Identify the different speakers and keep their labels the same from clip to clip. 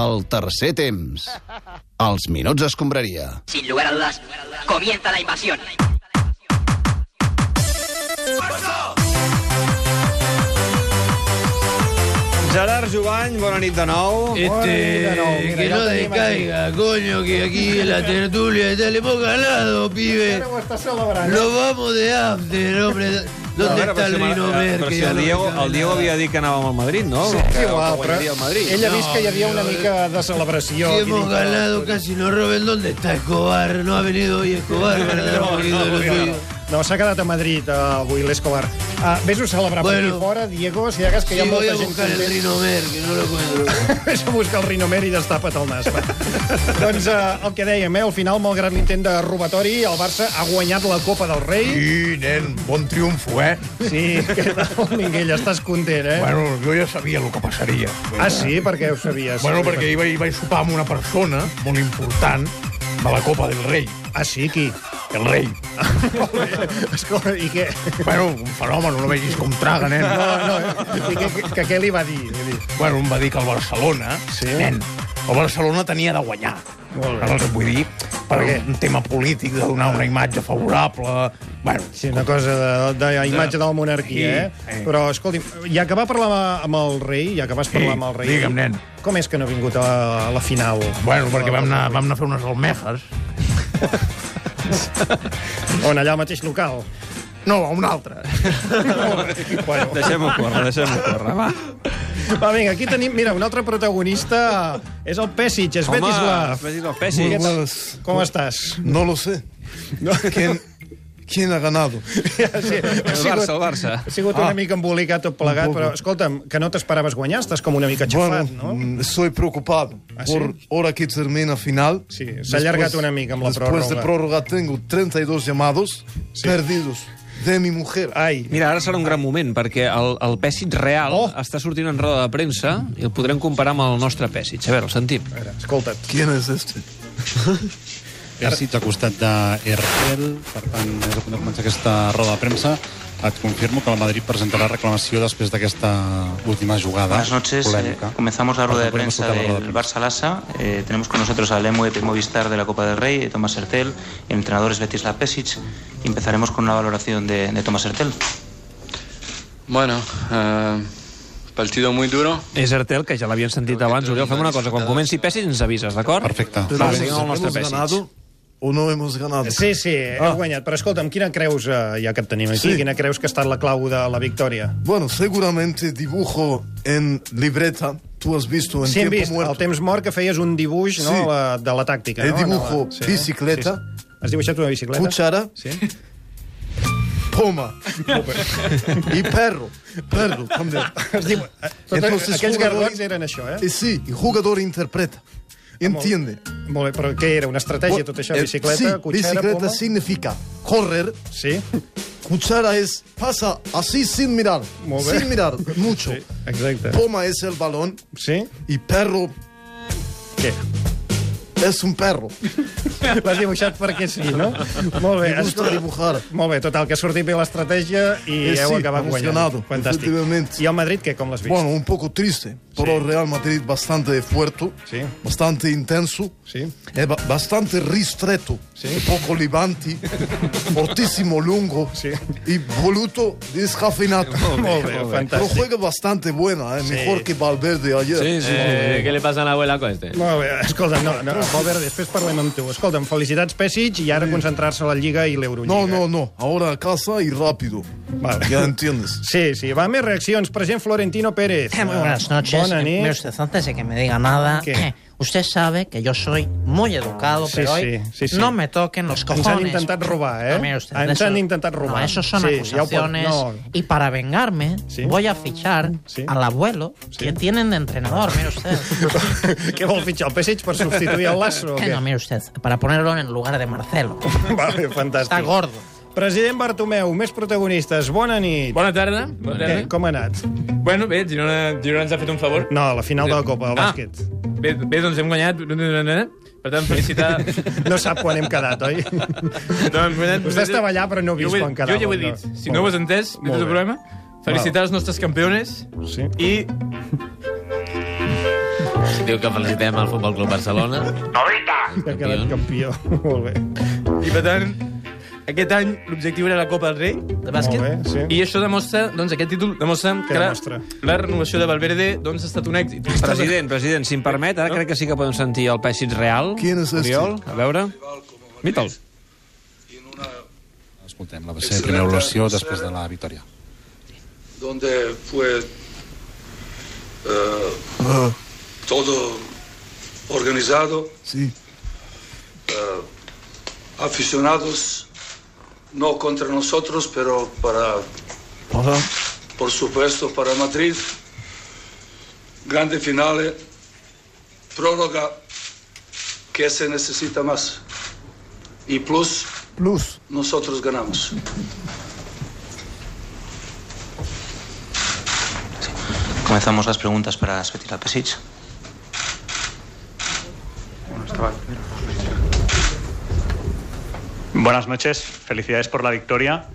Speaker 1: El tercer temps. Els minuts escombraria.
Speaker 2: Sin lugar a dudas, comienza la invasión.
Speaker 3: Gerard Jovany, bona nit de nou.
Speaker 4: Este, que no descaiga, coño, que aquí en la tertulia está, le hemos ganado, pibe. Nos vamos de after, hombre.
Speaker 3: A
Speaker 4: ¿Dónde
Speaker 3: veure,
Speaker 4: está el
Speaker 3: si, eh,
Speaker 4: Rino Ver?
Speaker 3: Però
Speaker 4: que
Speaker 3: si
Speaker 4: ya
Speaker 3: el
Speaker 4: no
Speaker 3: ah, Diego,
Speaker 4: gana
Speaker 3: el Diego
Speaker 4: nada?
Speaker 3: havia dit que anàvem al Madrid, no? Sí,
Speaker 5: És igual, però
Speaker 3: guanyaria el Madrid.
Speaker 5: ell ha vist que hi havia una
Speaker 4: eh.
Speaker 5: mica de celebració.
Speaker 4: Si
Speaker 5: aquí
Speaker 4: hemos
Speaker 5: dintre.
Speaker 4: ganado, casi nos roben. ¿Dónde está Escobar? No ha venido hoy Escobar para dar un poquito de lo suyo.
Speaker 5: No, s'ha quedat a Madrid eh, avui l'Escobar. Uh, Ves-ho a celebrar bueno. per
Speaker 4: Bueno.
Speaker 5: aquí fora, Diego, si hagas que hi ha
Speaker 4: Sí, voy
Speaker 5: molta
Speaker 4: a
Speaker 5: gent
Speaker 4: buscar el
Speaker 5: content.
Speaker 4: Rino Ver, que no lo encuentro.
Speaker 5: Ves a buscar el rinomer i destapa't el nas. va. doncs eh, el que dèiem, eh, al final, malgrat l'intent de robatori, el Barça ha guanyat la Copa del Rei.
Speaker 6: Sí, nen, bon triomfo, eh?
Speaker 5: Sí, què tal, Minguell? Estàs content, eh?
Speaker 6: Bueno, jo ja sabia el que passaria.
Speaker 5: Ah, sí? Per què ho sabies?
Speaker 6: Bueno, perquè hi vaig, vaig sopar amb una persona molt important de la Copa del Rei.
Speaker 5: Ah, sí? Qui?
Speaker 6: El rei.
Speaker 5: Escolta, i què?
Speaker 6: Bueno, un fenomen, no vegis com traga, nen.
Speaker 5: No, no, eh? I què, què, que què li va dir? Vull dir?
Speaker 6: Bueno, em va dir que el Barcelona,
Speaker 5: Sí.
Speaker 6: sí. nen, el Barcelona tenia de guanyar.
Speaker 5: Molt bé.
Speaker 6: Ara els vull dir, per
Speaker 5: què?
Speaker 6: un tema polític, de donar una imatge favorable... Bueno,
Speaker 5: Sí, una cosa de, de, de imatge de la monarquia, eh?
Speaker 6: Sí, sí.
Speaker 5: Però, escolti, ja que va parlar amb el rei, ja que vas parlar
Speaker 6: Sí,
Speaker 5: amb el rei...
Speaker 6: digue'm, nen.
Speaker 5: Com és que no ha vingut a la, a la final?
Speaker 6: bueno perquè vam anar, vam anar a fer unes almejas.
Speaker 5: On, allà al mateix local?
Speaker 6: No, a una altra.
Speaker 5: bueno,
Speaker 3: Deixem-ho córrer, deixem-ho córrer, va.
Speaker 5: va, vinga, aquí tenim... Mira, un altre protagonista és el Pesic, és Betislav.
Speaker 3: Svetislav
Speaker 5: Què
Speaker 3: Pesic.
Speaker 5: tal? Com estàs?
Speaker 6: No lo sé. No. ¿Quién, ¿Quién ha ganado?
Speaker 5: Sí, ha
Speaker 3: El Barça, el Barça.
Speaker 5: Ha sigut una mica embolicat tot plegat, però, escolta'm, que no t'esperaves guanyar, estàs com una mica aixafat, no?
Speaker 6: mm, estoy preocupado
Speaker 5: ¿Ah,
Speaker 6: por
Speaker 5: sí?
Speaker 6: hora que termina final.
Speaker 5: Sí, se ha alargado
Speaker 6: Después-
Speaker 5: una mica amb la
Speaker 6: Después de
Speaker 5: prórroga.
Speaker 6: prórroga tengo 32 llamados perdidos de mi mujer.
Speaker 5: Ai,
Speaker 3: Mira, ara serà un gran moment, perquè el, el Pesic real
Speaker 5: Oh!
Speaker 3: està sortint en roda de premsa i el podrem comparar amb el nostre Pesic. A veure, el sentim.
Speaker 5: mira, escolta't.
Speaker 6: ¿Quién es este?
Speaker 7: Pèrsit a costat de RL, per tant, és a punt de començar aquesta roda de premsa. Et confirmo que el Madrid presentarà reclamació després d'aquesta última jugada.
Speaker 8: Buenas noches.
Speaker 7: polèmica.
Speaker 8: Eh, comenzamos la rueda de
Speaker 7: Podem
Speaker 8: prensa
Speaker 7: escoltar la roda
Speaker 8: del Barça Lassa. Eh, tenemos con nosotros al MVP Movistar de la Copa del Rey, eh, Tomás Hertel. El entrenador es Betislav Pesic. Y empezaremos con una valoración de, de Tomás Hertel.
Speaker 9: Bueno, eh, partido muy duro.
Speaker 3: És Artel, que ja l'havien sentit abans. Oriol, fem una cosa. Quan comenci Pesic ens avises, d'acord?
Speaker 7: Perfecte.
Speaker 3: Va, vinga, el nostre Pesic.
Speaker 6: o no hemos ganado?
Speaker 5: Sí, sí, ah. heu guanyat. Però escolta'm, quina creus, eh, ja que et tenim aquí, sí.
Speaker 6: Sí.
Speaker 5: quina creus que ha estat la clau de la victòria?
Speaker 6: Bueno, seguramente dibujo en libreta. Tú has visto en
Speaker 5: Sí, Ah, hem
Speaker 6: tiempo
Speaker 5: vist,
Speaker 6: muerto.
Speaker 5: al temps mort, que feies un dibuix no,
Speaker 6: Sí.
Speaker 5: la, de la tàctica.
Speaker 6: Eh,
Speaker 5: no?
Speaker 6: dibujo
Speaker 5: No, la-
Speaker 6: bicicleta.
Speaker 5: Sí, sí. Has dibuixat una bicicleta?
Speaker 6: Cuchara.
Speaker 5: Sí.
Speaker 6: Poma. y perro. Perro también.
Speaker 5: Es diu... Tot,
Speaker 6: Entonces,
Speaker 5: eh, aquells Ah,
Speaker 6: jugador-
Speaker 5: gargots eren això, eh?
Speaker 6: Eh, sí, y jugador interpreta. Entiende.
Speaker 5: Molt bé, però què era? Una estratègia, tot això?
Speaker 6: Eh,
Speaker 5: Bicicleta,
Speaker 6: sí,
Speaker 5: cotxera,
Speaker 6: bicicleta
Speaker 5: poma?
Speaker 6: significa correr.
Speaker 5: Sí,
Speaker 6: Cuchara es pasa así sin mirar.
Speaker 5: Muy bien.
Speaker 6: Sin mirar mucho.
Speaker 5: exacte.
Speaker 6: Poma es el balón
Speaker 5: Sí?
Speaker 6: y perro
Speaker 5: Què?
Speaker 6: es un perro.
Speaker 5: L'has dibuixat perquè sí, no? Molt bé.
Speaker 6: Me gusta
Speaker 5: has-
Speaker 6: dibujar.
Speaker 5: Molt bé, total, que ha sortit bé l'estratègia i
Speaker 6: Eh,
Speaker 5: heu
Speaker 6: sí,
Speaker 5: acabat guanyant.
Speaker 6: emocionado,
Speaker 5: Fantàstic.
Speaker 6: efectivament.
Speaker 5: I el Madrid, què, com l'has vist?
Speaker 6: Bueno, un poco triste, pero Real Madrid bastante fuerte,
Speaker 5: Sí.
Speaker 6: bastante intenso,
Speaker 5: Sí.
Speaker 6: eh, ba- bastante ristretto, un poco levanti, fortissimo lungo
Speaker 5: Sí.
Speaker 6: y voluto descafeinato.
Speaker 5: Molt bé,
Speaker 6: Pero
Speaker 5: fantàstic.
Speaker 6: juega bastante buena, eh, mejor que Valverde ayer.
Speaker 3: Sí, sí. Eh,
Speaker 4: ¿Qué le pasa a la abuela con este?
Speaker 5: Molt bé, escolta'm, no, no, Valverde, després parlem amb tu. Escolta'm, felicitats, Pesic, i ara concentrar-se a la Lliga i l'Eurolliga.
Speaker 6: No, no, no, ahora a casa y rápido.
Speaker 5: Vale.
Speaker 6: Ya entiendes.
Speaker 5: Sí, sí, va, més reaccions. Present Florentino Pérez.
Speaker 10: Muy buenas noches.
Speaker 5: Bona nit.
Speaker 10: Mire usted, antes de que me diga nada,
Speaker 5: ¿Qué?
Speaker 10: usted sabe que yo soy muy educado,
Speaker 5: Sí,
Speaker 10: pero
Speaker 5: sí,
Speaker 10: hoy
Speaker 5: sí, sí.
Speaker 10: no me toquen los
Speaker 5: Ens
Speaker 10: cojones.
Speaker 5: han intentat robar, ¿eh?
Speaker 10: No, mire usted,
Speaker 5: Ens
Speaker 10: eso-
Speaker 5: han intentat robar.
Speaker 10: No, eso son
Speaker 5: Sí, ya ho pot-
Speaker 10: acusaciones.
Speaker 5: no.
Speaker 10: Y para vengarme,
Speaker 5: Sí.
Speaker 10: voy a fichar
Speaker 5: Sí.
Speaker 10: al abuelo que tienen de entrenador, mire usted.
Speaker 5: Què vol fitxar, el Pesic per substituir el Lasso? o
Speaker 10: Que
Speaker 5: què?
Speaker 10: Eh, no, mire usted, para ponerlo en el lugar de Marcelo.
Speaker 5: Vale, fantàstic.
Speaker 10: Está gordo.
Speaker 5: President Bartomeu, més protagonistes, bona nit.
Speaker 11: Bona tarda. Bona
Speaker 5: Què,
Speaker 11: tarda.
Speaker 5: com ha anat?
Speaker 11: Bueno, bé, Girona, Girona ens ha fet un favor.
Speaker 5: No, a la final de la Copa, el
Speaker 11: Ah.
Speaker 5: bàsquet.
Speaker 11: Bé, bé doncs hem guanyat. Per tant, felicitar...
Speaker 5: No sap quan hem quedat, oi?
Speaker 11: no, hem guanyat...
Speaker 5: Vostè estava allà, però no ha
Speaker 11: Jo
Speaker 5: vist
Speaker 11: ho he-
Speaker 5: quan quedava.
Speaker 11: Jo ja ho he
Speaker 5: no.
Speaker 11: dit. Si no ho has entès,
Speaker 5: Molt
Speaker 11: no és
Speaker 5: bé.
Speaker 11: el problema. Felicitar els nostres campeones
Speaker 5: Sí.
Speaker 11: i...
Speaker 12: Si diu que felicitem el Futbol Club Barcelona.
Speaker 5: Ha quedat campió. Molt bé.
Speaker 11: I per tant, aquest any l'objectiu era la Copa del Rei de bàsquet.
Speaker 5: Molt bé, sí.
Speaker 11: I això demostra, doncs aquest títol demostra
Speaker 5: Què
Speaker 11: que la,
Speaker 5: demostra?
Speaker 11: la renovació de Valverde doncs, ha estat un èxit.
Speaker 3: President, president, si em permet, ara crec que sí que podem sentir el pèssit real. Quin és este? Oriol, a veure. Mita'l.
Speaker 7: Escoltem, la va ser la primera evolució després de la victòria.
Speaker 13: donde fue eh, todo organizado. Eh, aficionados, no contra nosotros, pero para, por supuesto, para Madrid. Grande finale, prórroga que se necesita más. Y plus, plus. nosotros ganamos.
Speaker 8: Comenzamos las preguntas para Svetlana Pesic.
Speaker 14: Buenas noches, felicidades por la victoria.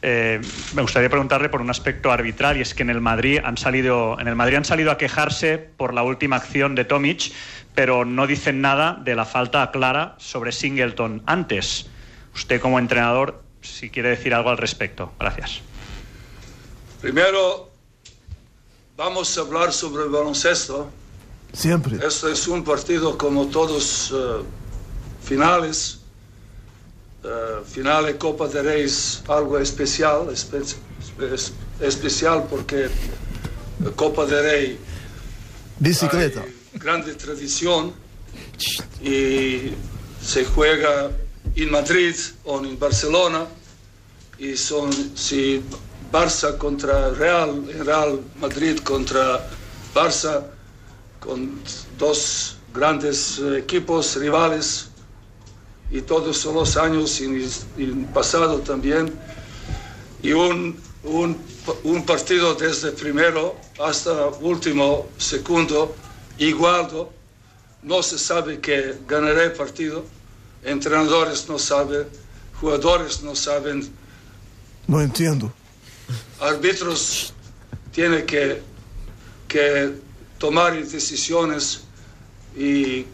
Speaker 14: Eh, me gustaría preguntarle por un aspecto arbitral y es que en el Madrid han salido en el Madrid han salido a quejarse por la última acción de Tomic, pero no dicen nada de la falta clara sobre Singleton antes. Usted como entrenador, si quiere decir algo al respecto. Gracias.
Speaker 13: Primero, vamos a hablar sobre el baloncesto.
Speaker 6: Siempre.
Speaker 13: Este es un partido como todos eh, finales. Eh, finales Copa de Reyes, algo especial, espe- es- especial porque eh, Copa de Rey
Speaker 6: Bicicleta.
Speaker 13: grande tradición y se juega en Madrid o en Barcelona y son si Barça contra Real, Real Madrid contra Barça con dos grandes eh, equipos rivales y todos los años y en el pasado también y un, un, un partido desde primero hasta último segundo igualdo no se sabe que ganaré el partido entrenadores no saben jugadores no saben
Speaker 6: No entiendo.
Speaker 13: árbitros tienen que, que tomar decisiones y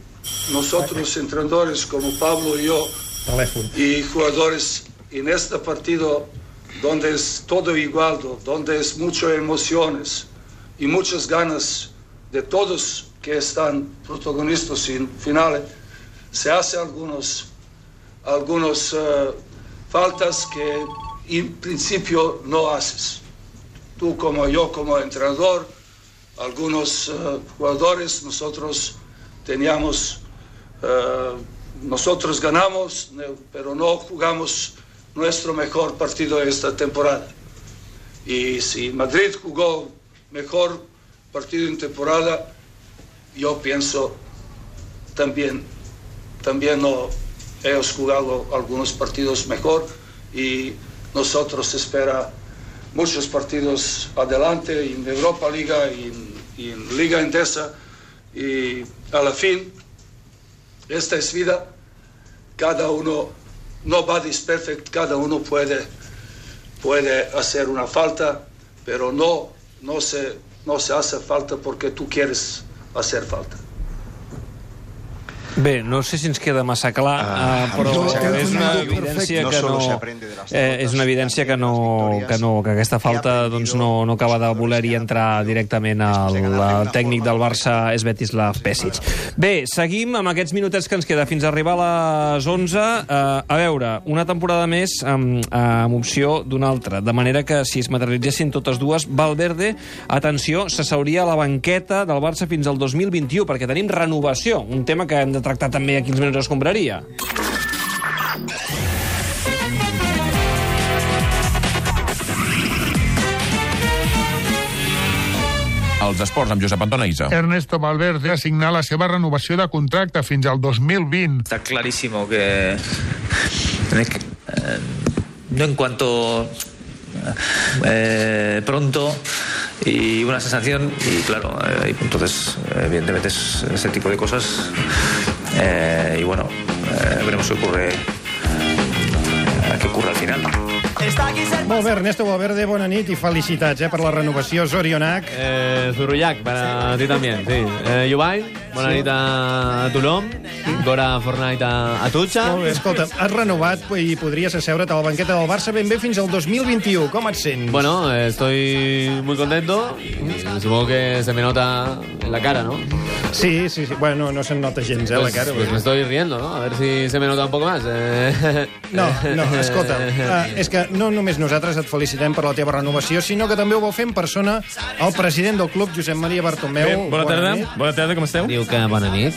Speaker 13: nosotros entrenadores como Pablo y yo
Speaker 5: Telèfon.
Speaker 13: y jugadores en este partido donde es todo igual, donde es muchas emociones y muchas ganas de todos que están protagonistas en finales, se hace algunos, algunos eh, faltas que en principio no haces. Tú como yo como entrenador, algunos eh, jugadores, nosotros teníamos eh, nosotros ganamos, ne- pero no jugamos nuestro mejor partido esta temporada. Y si Madrid jugó mejor partido en temporada, yo pienso también, también no, ellos jugado algunos partidos mejor y nosotros espera muchos partidos adelante en Europa Liga y en, y en Liga Endesa y a la fin esta es vida. Cada uno, nobody's perfect, cada uno puede, puede hacer una falta, pero no, no, se, no se hace falta porque tú quieres hacer falta.
Speaker 3: Bé, no sé si ens queda massa clar, uh, però
Speaker 15: no,
Speaker 3: és una
Speaker 15: no,
Speaker 3: evidència
Speaker 15: no
Speaker 3: que
Speaker 15: solo
Speaker 3: no...
Speaker 15: se aprende de las
Speaker 3: Eh, és una evidència que no, que no que aquesta falta doncs, no, no acaba de voler-hi entrar directament al, al tècnic del Barça, és Betislav Pesic. Bé, seguim amb aquests minutets que ens queda fins a arribar a les 11. Eh, a veure, una temporada més amb, amb opció d'una altra, de manera que si es materialitzessin totes dues, Valverde, atenció, s'asseuria a la banqueta del Barça fins al 2021, perquè tenim renovació, un tema que hem de tractar també a 15 minuts d'escombraria.
Speaker 16: Els esports amb Josep Antona Isa.
Speaker 17: Ernesto Valverde signar la seva renovació de contracte fins al 2020.
Speaker 18: Está clarísimo que, tenés que, eh, no en cuanto eh, pronto y una sensación y claro eh, y entonces evidentemente es ese tipo de cosas eh, y bueno eh, veremos qué ocurre qué ocurre al final.
Speaker 5: Molt bé, Ernesto Valverde, bona nit i felicitats eh, per la renovación Zorionac.
Speaker 15: Eh, Zurullac, para ti también, sí. Eh, Yubain.
Speaker 12: Bona nit a Tolom, Gora Fornait a, a Tutxa.
Speaker 5: Molt bé, escolta, has renovat i podries asseure't a la banqueta del Barça ben bé fins al 2021. Com et sents?
Speaker 12: Bueno, eh, estoy muy contento. Eh, Supongo que se me nota en la cara, ¿no?
Speaker 5: Sí, sí, sí. Bueno, no se'n nota gens, eh, la
Speaker 12: Pues-
Speaker 5: cara.
Speaker 12: Pues me estoy riendo, ¿no? A ver si se me nota un poco más. Eh,
Speaker 5: No, no, escolta, eh, és que no només nosaltres et felicitem per la teva renovació, sinó que també ho va fer en persona el president del club, Josep Maria Bartomeu.
Speaker 3: Bé, bona tarda. Bona tarda, com esteu?
Speaker 12: Diu que bona nit.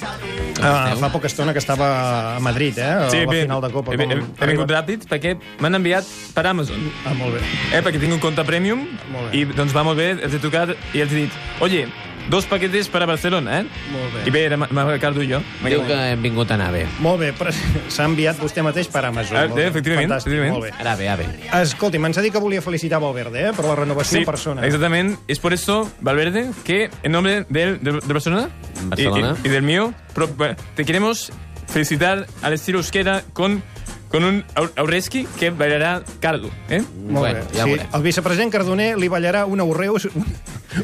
Speaker 5: Ah, fa poca estona que estava a Madrid, eh? A la final de Copa.
Speaker 3: He, he, he vingut ràpid perquè m'han enviat per Amazon.
Speaker 5: Ah, molt bé.
Speaker 3: Eh, perquè tinc un compte premium
Speaker 5: Molt
Speaker 3: i doncs va molt bé, els he trucat i els he dit oye, dos paquetes per a Barcelona, eh?
Speaker 5: Molt bé.
Speaker 3: I bé, era Ma- Ma- Ricardo i jo.
Speaker 5: Diu que
Speaker 12: hem vingut a anar bé.
Speaker 5: Molt bé, però s'ha enviat vostè mateix per Amazon.
Speaker 3: Ah,
Speaker 5: Molt bé.
Speaker 3: eh, efectivament,
Speaker 5: Fantàstic,
Speaker 3: efectivament.
Speaker 5: Molt bé.
Speaker 12: Ara bé, ara bé.
Speaker 5: Escolti, m'ens ha dit que volia felicitar Valverde, eh? Per la renovació en persona.
Speaker 3: Exactamente. Es por eso, Valverde, que en nombre de, él- de- de Barcelona, y-
Speaker 12: Barcelona.
Speaker 3: Y, y del mío, pro- bueno, te queremos felicitar al estilo euskera con, con un au- aurreski que bailará Cardo. ¿eh?
Speaker 5: Molt bé. sí, el vicepresident Cardoner li ballarà un aurreus...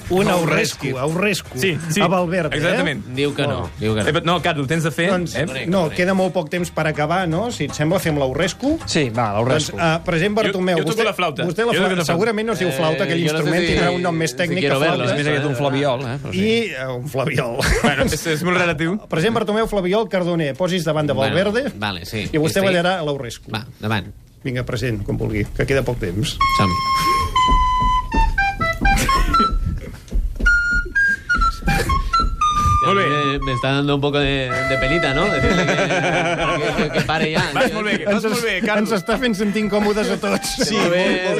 Speaker 5: Un aurrescu, aurrescu.
Speaker 3: Sí, sí.
Speaker 5: A Valverde,
Speaker 3: Exactament.
Speaker 5: eh?
Speaker 12: Diu que no. Diu que no.
Speaker 3: Eh, però no, Cardo, ho tens de fer.
Speaker 5: Doncs, eh? No, queda molt poc temps per acabar, no? Si et sembla, fem l'Aurescu.
Speaker 13: Sí, va, l'Aurescu.
Speaker 5: Doncs, uh, president Bartomeu,
Speaker 3: Jo- jo toco la flauta.
Speaker 5: vostè la
Speaker 3: Jo toco
Speaker 5: flauta,
Speaker 3: la flauta.
Speaker 5: segurament no es diu flauta, aquell
Speaker 3: Eh, jo no sé
Speaker 5: instrument
Speaker 3: si-
Speaker 5: tindrà un nom més
Speaker 3: si
Speaker 5: tècnic
Speaker 3: quiero
Speaker 5: que flauta.
Speaker 3: verlo, eh? Més aviat un flabiol, eh? Però sí.
Speaker 5: I eh, un flabiol.
Speaker 3: Bueno, és, és molt relatiu.
Speaker 5: President Bartomeu, flabiol, Cardoner, posis davant de Valverde
Speaker 12: Bueno, vale, sí.
Speaker 5: i vostè
Speaker 12: Estic-
Speaker 5: ballarà a l'Aurescu.
Speaker 12: Va, davant.
Speaker 5: Vinga, president, com vulgui, que queda poc temps.
Speaker 12: som
Speaker 3: Molt bé.
Speaker 12: Me, me está dando un poco de, de pelita, ¿no? Decirle que, que, que pare ya.
Speaker 3: Vas molt bé, vas molt bé, Cardo.
Speaker 5: Ens està fent sentir incòmodes a tots.
Speaker 12: Sí, molt,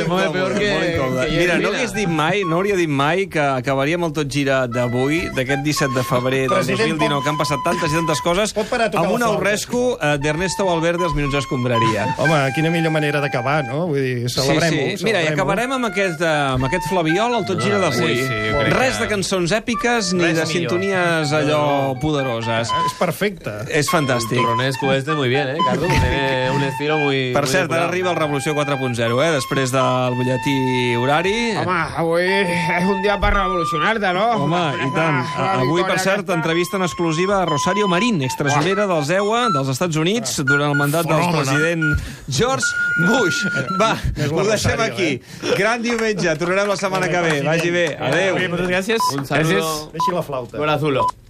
Speaker 12: molt, molt, molt, molt,
Speaker 13: Mira, no hagués dit mai, no hauria dit mai que acabaríem el tot gira d'avui, d'aquest 17 de febrer del
Speaker 5: President,
Speaker 13: 2019, que han passat tantes i tantes coses,
Speaker 5: parar a tocar
Speaker 13: amb un
Speaker 5: la flauta?
Speaker 13: aurresco eh, d'Ernesto Valverde als minuts d'escombraria.
Speaker 5: Home, quina millor manera d'acabar, no? Vull dir, celebrem-ho.
Speaker 13: Sí, sí. Mira, i
Speaker 5: celebrem-ho. Ah,
Speaker 13: acabarem amb aquest, eh, amb aquest flabiol al tot gira d'avui.
Speaker 5: sí, sí, jo crec
Speaker 13: Res
Speaker 5: que-
Speaker 13: de cançons èpiques ni
Speaker 5: Res
Speaker 13: de
Speaker 5: millor.
Speaker 13: sintonies allò poderoses.
Speaker 5: És perfecte.
Speaker 13: És fantàstic.
Speaker 12: Turronesco este muy bien, ¿eh, Cardo? Tiene un estilo muy...
Speaker 13: Per
Speaker 12: muy
Speaker 13: cert,
Speaker 12: depurado.
Speaker 13: ara arriba el Revolució 4.0, eh? després del butlletí horari.
Speaker 6: Home, avui és un dia per revolucionar-te, no?
Speaker 13: Home, i tant. A- Avui, per cert, entrevista en exclusiva a Rosario Marín, extresorera dels EUA dels Estats Units durant el mandat del
Speaker 6: Fenòmena.
Speaker 13: president George Bush.
Speaker 5: Eh,
Speaker 13: Va, ho deixem aquí. Gran diumenge. Tornarem la setmana que ve. Vagi bé. Adéu.
Speaker 3: Molt bé, moltes gràcies.
Speaker 13: Un saludo.
Speaker 3: Gràcies.
Speaker 5: Deixi la flauta.
Speaker 13: Corazulo.